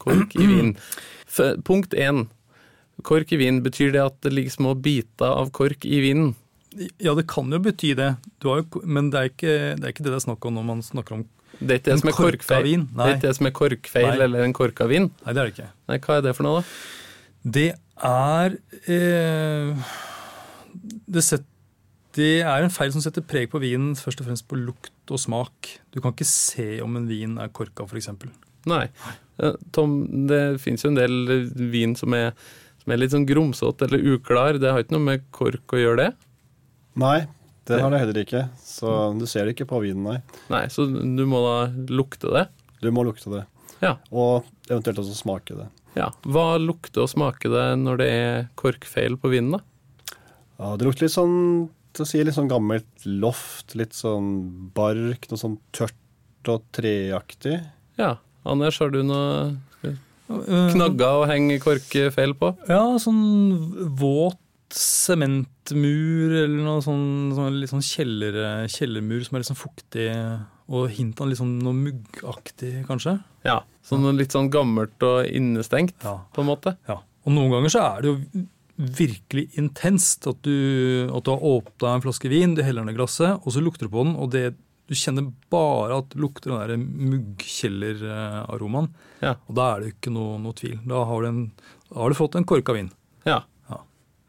Kork i vin. F punkt én. Kork i vin, betyr det at det ligger små biter av kork i vinen? Ja, det kan jo bety det, du har jo, ko- men det er, ikke, det er ikke det det er snakk om når man snakker om Det er ikke det En som er korka korkfeil, vin? det Nei. er ikke det som er korkfeil Nei. eller en korka vin. Nei, det er det ikke. Nei, hva er det for noe, da? Det er eh, det, set, det er en feil som setter preg på vinen, først og fremst på lukt og smak. Du kan ikke se om en vin er korka, f.eks. Nei. Eh, Tom, det fins jo en del vin som er, som er litt sånn grumsete eller uklar. Det har ikke noe med kork å gjøre, det? Nei, det har det heller ikke. Så du ser det ikke på vinen, nei. Nei, så du må da lukte det? Du må lukte det. Ja. Og eventuelt også smake det. Ja, Hva lukter og smaker det når det er korkfeil på vinen? da? Ja, det lukter litt sånn det sier litt sånn gammelt loft, litt sånn bark, noe sånn tørt og treaktig. Ja, Anders, har du noe Eh, knagger å henge korkfeil på? Ja, sånn våt sementmur eller noe sånn, sånn, litt sånn kjeller, kjellermur som er litt sånn fuktig, og hint av litt sånn noe muggaktig, kanskje. Ja, Sånn noe litt sånn gammelt og innestengt, Ja. på en måte? ja. Og noen ganger så er det jo virkelig intenst at du, at du har åpna en flaske vin, du heller den i glasset, og så lukter du på den, og det, du kjenner bare at det lukter den der muggkjelleraromaen. Ja. Og da er det jo ikke noe, noe tvil. Da har, du en, da har du fått en korka vin. ja. Ja.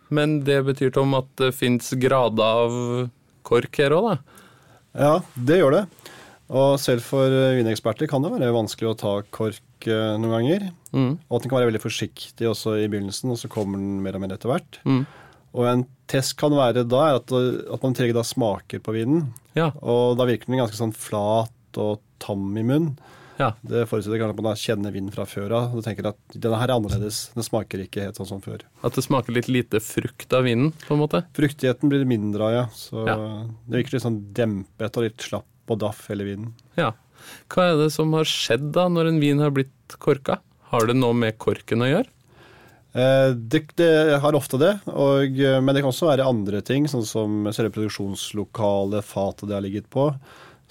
Men det betyr, Tom, at det fins grader av kork her òg, da? Ja, det gjør det. Og selv for eh, vineksperter kan det være vanskelig å ta kork eh, noen ganger. Mm. Og at den kan være veldig forsiktig også i begynnelsen, og så kommer den mer og mer etter hvert. Mm. Og en test kan være da at, at man trenger da smaker på vinen. Ja, Og da virker den ganske sånn flat og tam i munnen. ja. Det forutsetter kanskje at man da kjenner vinen fra før av og tenker at denne her er annerledes. Den smaker ikke helt sånn som før. At det smaker litt lite frukt av vinen, på en måte? Fruktigheten blir det mindre av, ja. Så Ja. det virker litt sånn dempet og litt slapp og daff hele vinen. Ja. Hva er det som har skjedd da, når en vin har blitt korka? Har det noe med korken å gjøre? Eh, Det, det har ofte det, og, eh, men det kan også være andre ting, sånn som selve produksjonslokalet, fatet det har ligget på.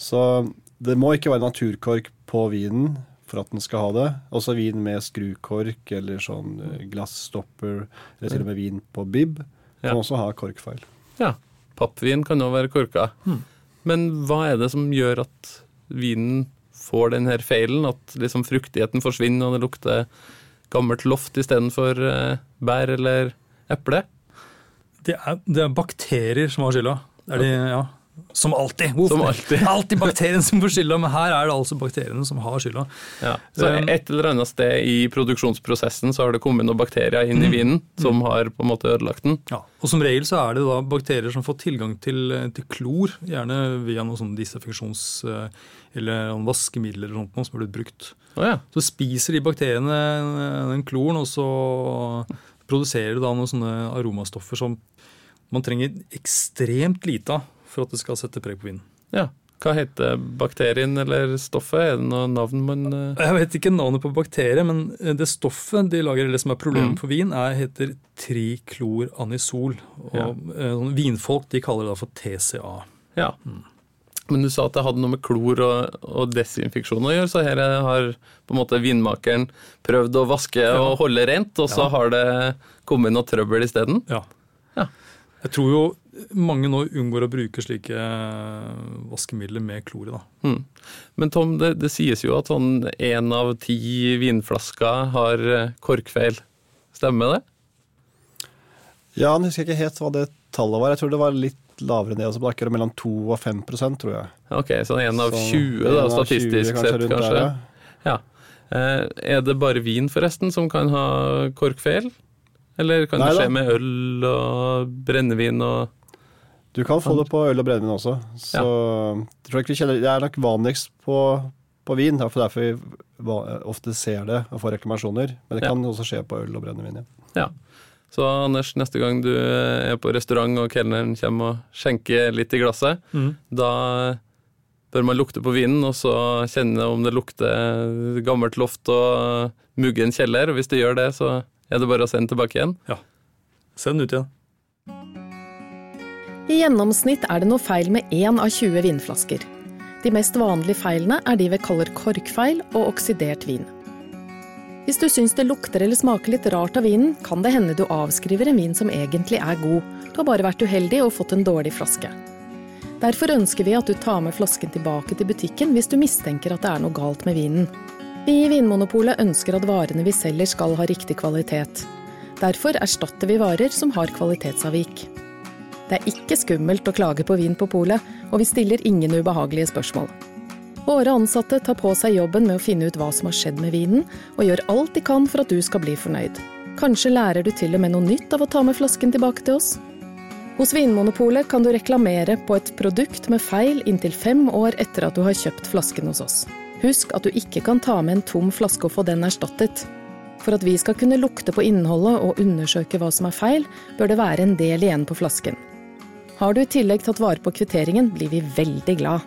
Så det må ikke være naturkork på vinen for at den skal ha det. Også vin med skrukork eller sånn eh, glassstopper, eller til og med vin på bib, Ja. kan også ha korkfeil. Ja, Hmm. pappvin kan jo være korka. Men hva er det som gjør at vinen får den her feilen? At liksom fruktigheten forsvinner, og det lukter gammelt loft istedenfor eh, bær eller eple? Det er, det er bakterier som har skylda. Det er de, ja. Som alltid. Hvorfor? Som alltid. alltid bakterien som får skylda, men her er det altså bakteriene som har skylda. Ja. Så Um, et eller annet sted i produksjonsprosessen så har det kommet noen bakterier inn i vinen som har på en måte ødelagt den. Ja. Og som regel så er det da bakterier som får tilgang til, til klor, gjerne via noen sånne disinfeksjons- eller noen vaskemidler eller sånt noe som er blitt brukt. Å ja. Så spiser de bakteriene eh, den kloren, og så produserer de da noen sånne aromastoffer som man trenger ekstremt lite av for at det skal sette preg på vinen. ja. Hva heter bakterien eller stoffet? Er det noe navn man eh, Jeg vet ikke navnet på bakteriet, men eh, det stoffet de lager, eller det som er problemet for vin, er, heter trikloranisol. Og Ja. eh, sånn vinfolk de kaller det da for TCA. Ja. Men du sa at det hadde noe med klor og, og desinfeksjon å gjøre, så her har på en måte vinmakeren prøvd å vaske og holde rent, og så har det kommet noe trøbbel isteden? Ja. Ja. Jeg tror jo mange nå unngår å bruke slike eh, vaskemidler med klor i. da. Mm. Men Tom, det, det sies jo at sånn én av ti vinflasker har eh, korkfeil. Stemmer det? Ja, jeg husker ikke helt hva det tallet var. Jeg tror det var litt lavere enn det, altså på akkurat mellom 2 og 5 prosent, tror jeg. Ok, så én av Så 20, Sånn, en da, av 20 statistisk sett, rundt der, kanskje. ja. ja. Eh, er det bare vin, forresten, som kan ha korkfeil? Eller kan det Neida. skje med øl og brennevin og Du kan få det på øl og brennevin også. Så jeg tror ikke vi kjenner, Det er nok vanligst på, på vin. Det er derfor vi va- ofte ser det og får reklamasjoner. Men det Ja. kan også skje på øl og brennevin. Ja. Ja. Så Anders, neste gang du er på restaurant og kelneren kommer og skjenker litt i glasset, Mm. da bør man lukte på vinen og så kjenne om det lukter gammelt loft og muggen kjeller. Og hvis det gjør det, så er det bare å sende tilbake igjen. Send den ut igjen. I gjennomsnitt er det noe feil med én av 20 vinflasker. De mest vanlige feilene er de vi kaller korkfeil og oksidert vin. Hvis du syns det lukter eller smaker litt rart av vinen, kan det hende du avskriver en vin som egentlig er god. Du har bare vært uheldig og fått en dårlig flaske. Derfor ønsker vi at du tar med flasken tilbake til butikken hvis du mistenker at det er noe galt med vinen. Vi i Vinmonopolet ønsker at varene vi selger skal ha riktig kvalitet. Derfor erstatter vi varer som har kvalitetsavvik. Det er ikke skummelt å klage på vin på polet, og vi stiller ingen ubehagelige spørsmål. Våre ansatte tar på seg jobben med å finne ut hva som har skjedd med vinen, og gjør alt de kan for at du skal bli fornøyd. Kanskje lærer du til og med noe nytt av å ta med flasken tilbake til oss? Hos Vinmonopolet kan du reklamere på et produkt med feil inntil fem år etter at du har kjøpt flasken hos oss. Husk at du ikke kan ta med en tom flaske og få den erstattet. For at vi skal kunne lukte på innholdet og undersøke hva som er feil, bør det være en del igjen på flasken. Har du i tillegg tatt vare på kvitteringen, blir vi veldig glad.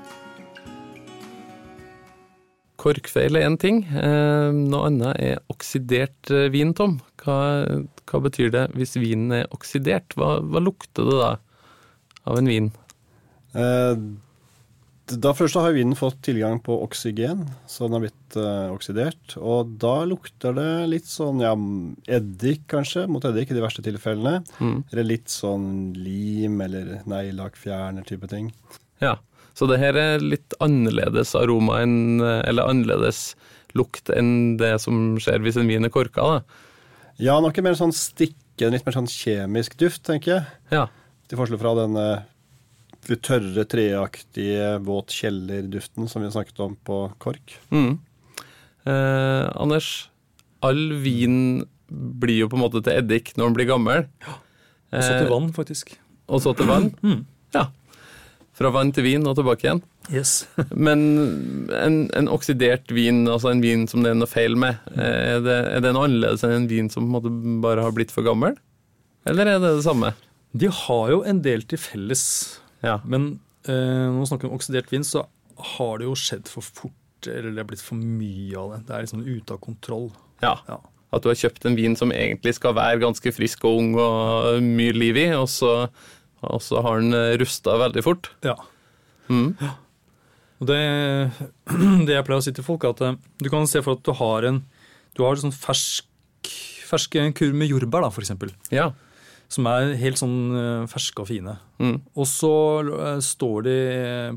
Korkfeil er én ting. Eh, noe annet er oksidert eh, vin, Tom. Hva, hva betyr det hvis vinen er oksidert? Hva, hva lukter det da av en vin? Eh, Da først så har vinen fått tilgang på oksygen, så den har blitt eh, oksidert. Og da lukter det litt sånn ja, eddik, kanskje, mot eddik i de verste tilfellene. Mm. Eller litt sånn lim eller neglelakkfjerner-type ting. Ja, så det her er litt annerledes aroma enn, eh, eller annerledes lukt enn det som skjer hvis en vin er korka, da. Ja, nok en mer sånn stikkende, litt mer sånn kjemisk duft, tenker jeg. Ja, Til forskjell fra den eh, litt tørre, treaktige våt kjellerduften som vi snakket om på KORK. mm. eh, Anders, all vin blir jo på en måte til eddik når den blir gammel. Eh, Og så til vann, faktisk. Og så til vann. Mm. Ja. Fra vann til vin og tilbake igjen. Yes. Men en, en oksidert vin, altså en vin som det er noe feil med, eh, er det, er det noe annerledes enn en vin som på en måte bare har blitt for gammel? Eller er det det samme? De har jo en del til felles. Ja. Men eh, når man snakker om oksidert vin, så har det jo skjedd for fort. Eller det er blitt for mye av det. Det er liksom ute av kontroll. ja. Ja. At du har kjøpt en vin som egentlig skal være ganske frisk og ung og mye liv i, og så, og så har den rusta veldig fort. ja. Mm. Og det, det jeg pleier å si til folk, er at eh, du kan se for at du har en du har sånn fersk, ferske kurv med jordbær, da, for eksempel, Ja. som er helt sånn eh, ferske og fine. Mm. Og så eh, står de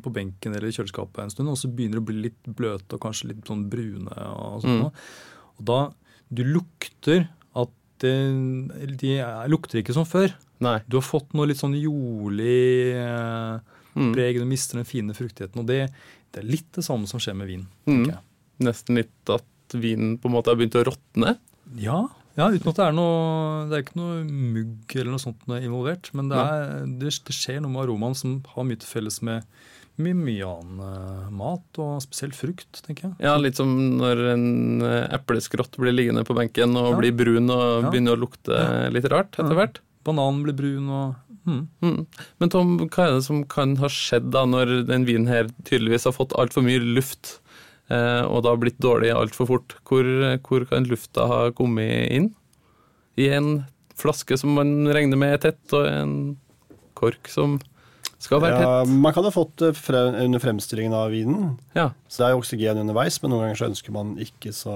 på benken eller i kjøleskapet en stund, og så begynner de å bli litt bløte og kanskje litt sånn brune. Og sånn. Mm. Og da du lukter at det, de er, lukter ikke som før. Nei. Du har fått noe litt sånn jordlig eh, Mm. preg, du mister den fine fruktigheten. Og det, det er litt det samme som skjer med vin. Mm. tenker jeg. Nesten litt at vinen på en måte har begynt å råtne. Ja, ja, uten at det er noe Det er ikke noe mugg eller noe sånt noe involvert. Men det, er, det, det skjer noe med aromaen som har mye til felles med mye, mye annen eh, mat, og spesielt frukt, tenker jeg. Ja, Litt som når en eh, epleskrott blir liggende på benken og Ja. blir brun og Ja. begynner å lukte litt rart etter Ja. hvert. Bananen blir brun og mm. Mm. Men Tom, hva er det som kan ha skjedd da når den vinen her tydeligvis har fått altfor mye luft, eh, og da blitt dårlig altfor fort? Hvor, hvor kan lufta ha kommet inn? I en flaske som man regner med er tett, og en kork som skal være Ja, tett. man kan ha fått det fre under fremstillingen av vinen. Ja. Så det er jo oksygen underveis, men noen ganger så ønsker man ikke så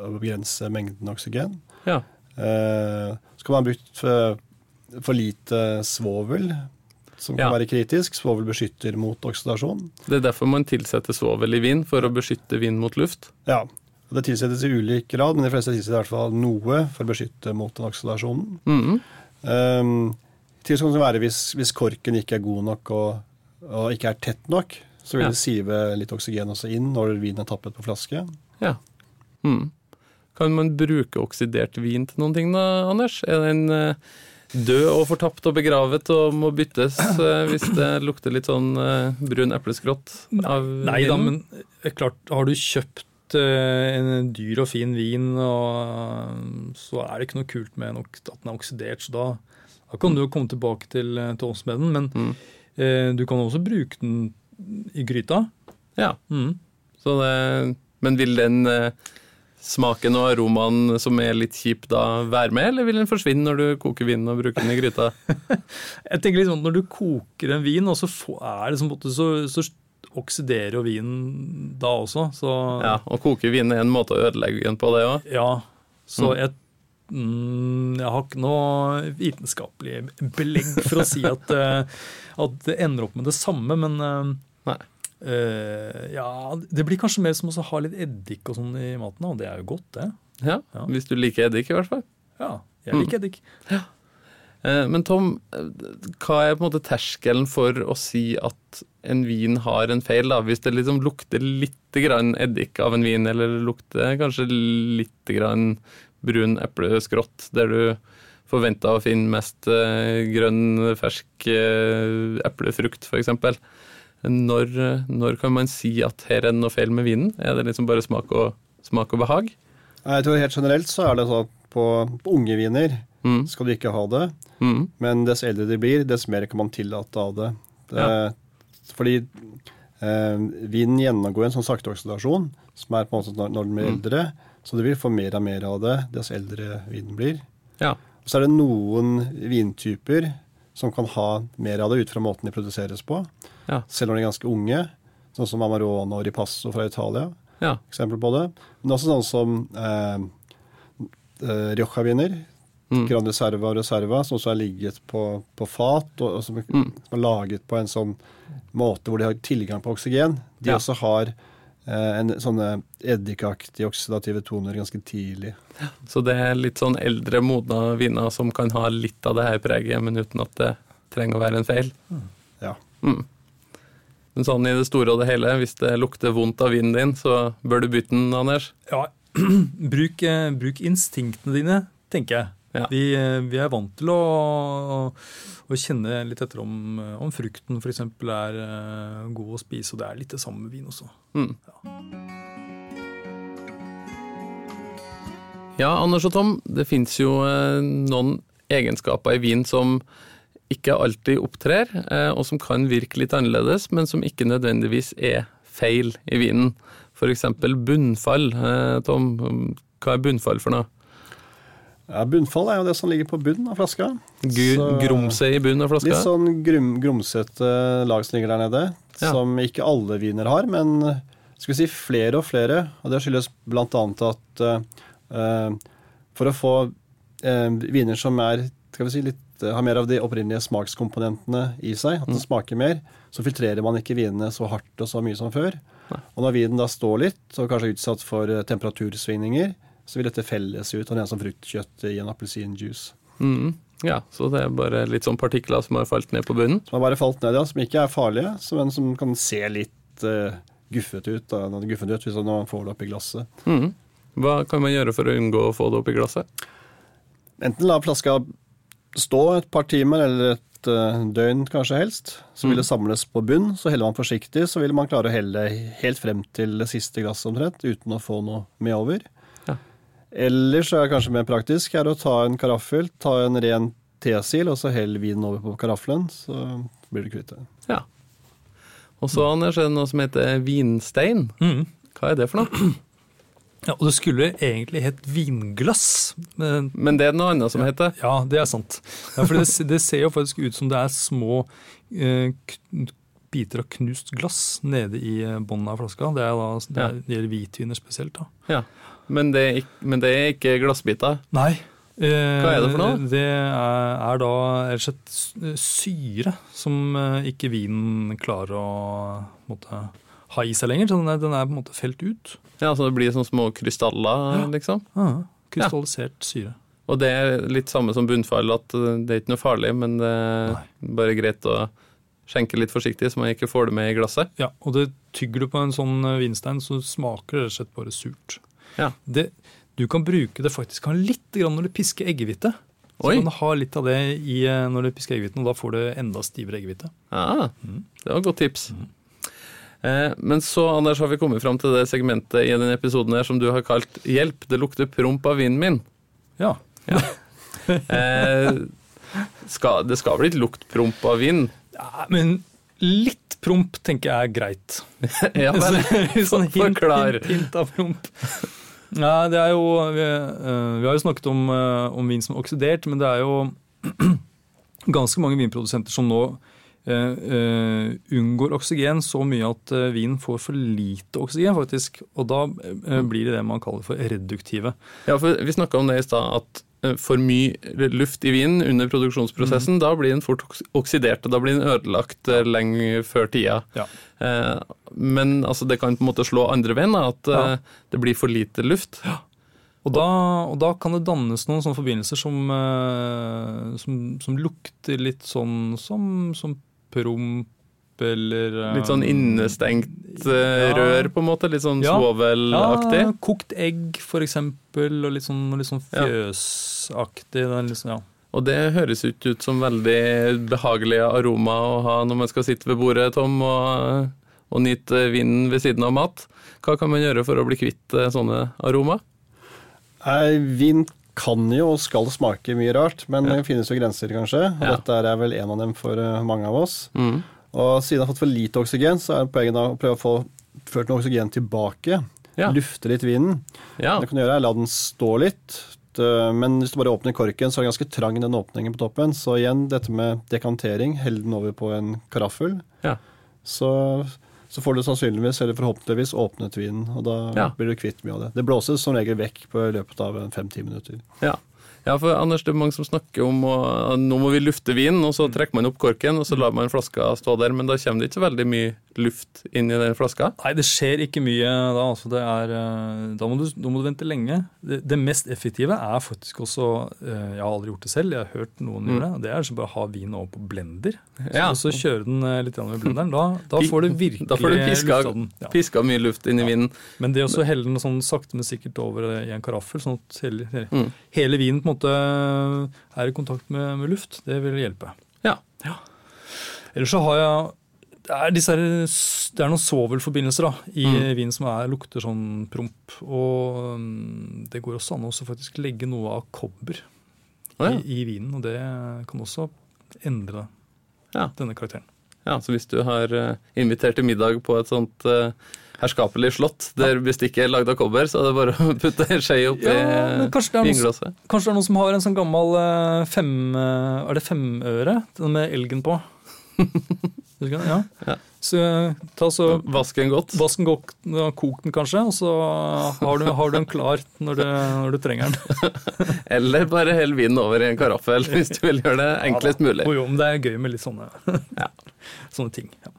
å begrense mengden oksygen. ja. Eh, så kan man ha brukt for, for lite svovel, som kan Ja. være kritisk. Svovel beskytter mot oksidasjon. Det er derfor man tilsetter svovel i vin, for å beskytte vin mot luft. Ja, og Det tilsettes i ulik grad, men de fleste tilsetter i hvert fall noe for å beskytte mot den oksidasjonen. Mhm. Um, til sånn som være hvis, hvis korken ikke er god nok og, og ikke er tett nok, så vil Ja. det sive litt oksygen også inn når vinen er tappet på flaske. Ja. Hmm. Mm. Kan man bruke oksidert vin til noen ting da, Anders? Er det en, eh, død og fortapt og begravet og må byttes eh, hvis det lukter litt sånn eh, brun epleskrott av Nei da, vinen. men eh, klart, har du kjøpt eh, en dyr og fin vin, og, eh, så er det ikke noe kult med en ok- at den er oksidert. Så da, da kan du jo komme tilbake til, eh, til oss med den. Men Mm. eh, du kan også bruke den i gryta. Ja, Mm. så det, men vil den eh, smaken og aromaen som er litt kjip da være med, eller vil den forsvinne når du koker vinen og bruker den i gryta? Jeg tenker liksom, Når du koker en vin, og så, få- er det som på en måte så, så oksiderer jo vinen da også. Så Ja, og koke vin er en måte å ødelegge den på, det òg. Ja, så Mm. jeg, mm, jeg har ikke noe vitenskapelig belegg for å si at, eh, at det ender opp med det samme, men eh, Nei. eh, ja, Det blir kanskje mer som å ha litt eddik og sånn i maten, og det er jo godt, det. Ja, Ja. hvis du liker eddik, i hvert fall. Ja, Mm. jeg liker eddik. Eh, Men Tom, eh, hva er på en måte terskelen for å si at en vin har en feil, da? Hvis det liksom lukter litt grann eddik av en vin, eller lukter kanskje litt grann brun epleskrott, der du forventa å finne mest eh, grønn, fersk eh, eplefrukt, f.eks. Når, eh, når kan man si at her er det noe feil med vinen? Er det liksom bare smak og, smak og behag? Nei, Jeg tror helt generelt så er det sånn at på, på unge viner Mm. skal du ikke ha det, Mm. men dess eldre de blir, dess mer kan man tillate av det. det Fordi eh, vinen gjennomgår en sånn sakte oksidasjon, som er på en måte når, når den blir Mm. eldre, så du vil få mer og mer av det dess eldre vinen blir. Ja. Og så er det noen vintyper som kan ha mer av det ut fra måten de produseres på, Ja. selv når de er ganske unge, sånn som Amarone og Ripasso fra Italia ja. eksempler på det. Men også sånn som eh, eh, Rioja-viner. Mm. Gran Reserva og Reserva, som også har ligget på, på fat, og, og som, er- Mm. som er laget på en sånn måte hvor de har tilgang på oksygen. De Ja. også har eh, en sånne eddikaktige oksidative toner ganske tidlig. Så det er litt sånn eldre, modna viner som kan ha litt av det her preget, men uten at det trenger å være en feil. Ja. Mm. Men sånn i det store og det hele, hvis det lukter vondt av vinen din, så bør du bytte den, Anders. Ja, bruk, eh, bruk instinktene dine, tenker jeg. Ja. Vi, eh, vi er vant til å, å kjenne litt etter om, eh, om frukten f.eks. er eh, god å spise, og det er litt det samme med vin også. Mm. Ja, Anders og Tom, det fins jo eh, noen egenskaper i vin som ikke alltid opptrer, eh, og som kan virke litt annerledes, men som ikke nødvendigvis er feil i vinen. F.eks. bunnfall. Eh, Tom, hva er bunnfall for noe? Ja, Bunnfall er jo det som ligger på bunnen av flaska. Gu- Så- Grumse i bunnen av flaska? Litt sånn grum, grumsete lag som ligger der nede, Ja. som ikke alle viner har, men skal vi si flere og flere. Og det skyldes bl.a. at eh, for å få eh, viner som er, skal vi si, litt, har mer av de opprinnelige smakskomponentene i seg, at den Mm. smaker mer, så filtrerer man ikke vinene så hardt og så mye som før. Nei. Og når vinen da står litt og kanskje er utsatt for eh, temperatursvingninger, så vil dette felles ut og det er som fruktkjøtt i en appelsinjuice. Mm, ja, så det er bare litt sånn partikler som har falt ned på bunnen. Som har bare falt ned, ja. Som ikke er farlige, så- men som kan se litt eh, guffet ut da, guffet ut hvis man får det oppi glasset. Mm. Hva kan man gjøre for å unngå å få det opp i glasset? Enten la flaska stå et par timer eller et eh, døgn kanskje helst, så vil det samles på bunn. Så heller man forsiktig, så vil man klare å helle helt frem til det siste glasset omtrent, uten å få noe med over. Ja. Ellers så er det kanskje mer praktisk er å ta en karaffel, ta en ren tesil, og så hell vinen over på karaffelen, så blir du kvitt det. Ja. Og så, Anders, er det noe som heter vinstein. Hva er det for noe? Ja, og det skulle egentlig hett vinglass. Men Men det er noe annet som heter ja, det er sant. Ja, for det, det ser jo faktisk ut som det er små eh, kn- biter av knust glass nede i eh, bunnen av flaska. Det, er da, det, er, det gjelder hvitviner spesielt. da. Ja. Men det er ikke, men det er ikke glassbiter. Nei. Eh, Hva er det for noe? Det er, er da rett og slett s- eh, syre som eh, ikke vinen klarer å på en måte, ha i seg lenger. Så den er, den er på en måte felt ut. Ja, Så det blir sånne små krystaller, liksom. Ah, krystallisert syre. Og det er litt samme som bunnfall, at eh, det er ikke noe farlig, men det er bare greit å skjenke litt forsiktig, så man ikke får det med i glasset. Ja, og det tygger du på en sånn eh, vinstein, så smaker det rett og slett bare surt. Ja. Det, du kan bruke det faktisk kan litt grann når du pisker eggehvite. Så Oi. man har litt av det i, eh, når du pisker eggehviten, og da får du enda stivere eggehvite. Ah, det var et godt tips. Eh, men så, Anders, har vi kommet fram til det segmentet i denne episoden her som du har kalt 'Hjelp, det lukter promp av vinen min'. Ja. Eh, skal, det skal vel ikke lukte promp av vin? ja men litt promp tenker jeg er greit. ja, vel. sånn hint, Forklar. hint, hint av promp. Nei, det er jo Vi, eh, vi har jo snakket om, eh, om vin som er oksidert, men det er jo ganske mange vinprodusenter som nå eh, eh, unngår oksygen så mye at eh, vinen får for lite oksygen, faktisk. Og da eh, blir det det man kaller for reduktive. ja, for vi snakka om det i stad, at eh, for mye luft i vinen under Mm. produksjonsprosessen, da blir den fort oks- oksidert, og da blir den ødelagt eh, lenge før tida. Ja. Eh, men altså, det kan på en måte slå andre veien, da, at eh, Ja. det blir for lite luft. Og da, og da kan det dannes noen sånne forbindelser som, eh, som, som lukter litt sånn som, som promp eller eh, Litt sånn innestengt eh, ja. rør, på en måte. Litt sånn Ja. svovelaktig. Ja, kokt egg for eksempel, og litt sånn, litt sånn Ja. fjøsaktig. det er litt sånn- ja. Og det høres jo ikke ut som veldig behagelige aroma å ha når man skal sitte ved bordet, Tom, og, og nyte vinden ved siden av mat. Hva kan man gjøre for å bli kvitt eh, sånne aroma? Nei, Vin kan jo og skal smake mye rart, men Ja. det finnes jo grenser, kanskje. Og Ja. dette er vel en av dem for eh, mange av oss. Mm. Og siden jeg har fått for lite oksygen, så er poenget da å prøve å få ført noe oksygen tilbake. Ja. Lufte litt vinen. Ja. Det kan du gjøre er La den stå litt. Det- Men hvis du bare åpner korken, så er den ganske trang, den åpningen på toppen. Så igjen, dette med dekantering, hell den over på en karaffel. Ja. Så, så får du sannsynligvis, eller forhåpentligvis, åpnet vinen. Og da Ja. blir du kvitt mye av det. Det blåses som regel vekk på i løpet av en fem-ti minutter. Ja. ja, for Anders, det er mange som snakker om å, nå må vi lufte vinen, og så trekker man opp korken, og så lar man flaska stå der, men da kommer det ikke så veldig mye luft inn i den flaska. Nei, det skjer ikke mye da. Altså det er, eh, da, må du, da må du vente lenge. Det, det mest effektive er faktisk også eh, Jeg har aldri gjort det selv, jeg har hørt noen gjøre det. Det er så bare å ha vinen over på blender, så, Mm. Ja. og så kjøre den eh, litt grann med blenderen. Da, da Pi- får du virkelig Da får du piska, lufta den. Ja. piska mye luft inn i Ja. vinen. Men det å så helle den sånn sakte, men sikkert over i en karaffel, sånn at hele, hele- Mm. hele vinen på en måte eh, er i kontakt med, med luft, det vil hjelpe. Ja. Ellers så har jeg det er, disse her, det er noen svovelforbindelser da, i Mm. vinen som er, lukter sånn promp. Og mm, det går også an å også faktisk legge noe av kobber Å, ja. i, i vinen. Og det kan også endre Ja. denne karakteren. Ja, så hvis du har eh, invitert til middag på et sånt eh, herskapelig slott der bestikket er lagd av kobber, så er det bare å putte en skje oppi Ja, men kanskje det er noe- vinglasset. Kanskje det er noen som har en sånn gammel eh, fem, eh, er det femøre? Den med elgen på. Husker du den? Ja. Ja. Så eh, ta så Vask den godt. Vask den godt, ja, kok den kanskje, og så har du, har du den klar når du, når du trenger den. Eller bare hell vinen over i en karaffel hvis du vil gjøre det enklest mulig. Jo, jo, men det er gøy med litt sånne, sånne ting. Ja.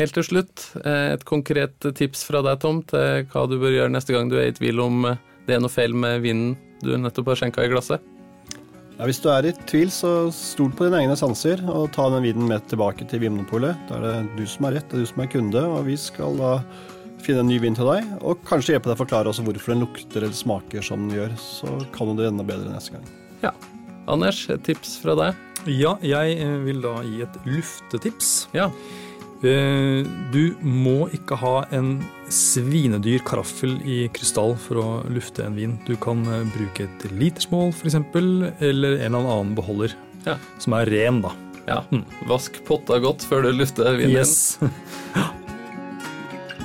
Helt til slutt, eh, et konkret tips fra deg, Tom, til hva du bør gjøre neste gang du er i tvil om eh, det er noe feil med vinen du nettopp har skjenka i glasset. Ja, hvis du er i tvil, så stol på dine egne sanser, og ta den vinen med tilbake til Vinmonopolet. Da er det du som har rett, det er du som er kunde, og vi skal da finne en ny vin til deg, og kanskje hjelpe deg å forklare også hvorfor den lukter eller smaker som den gjør. Så kan du det enda bedre neste gang. Ja. Anders, et tips fra deg. ja, jeg eh, vil da gi et luftetips. Ja. Eh, Du må ikke ha en svinedyr karaffel i krystall for å lufte en vin. Du kan eh, bruke et litersmål f.eks., eller en eller annen beholder Ja. som er ren, da. ja. Vask potta godt før du lufter vinen. Mm. Yes.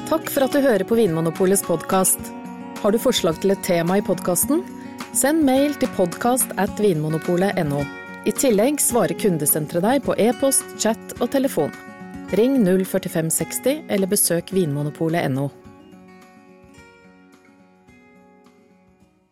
Takk for at du hører på Vinmonopolets podkast. Har du forslag til et tema i podkasten? Send mail til podkast at vinmonopolet.no. I tillegg svarer kundesenteret deg på e-post, chat og telefon. Ring 04560 eller besøk vinmonopolet.no.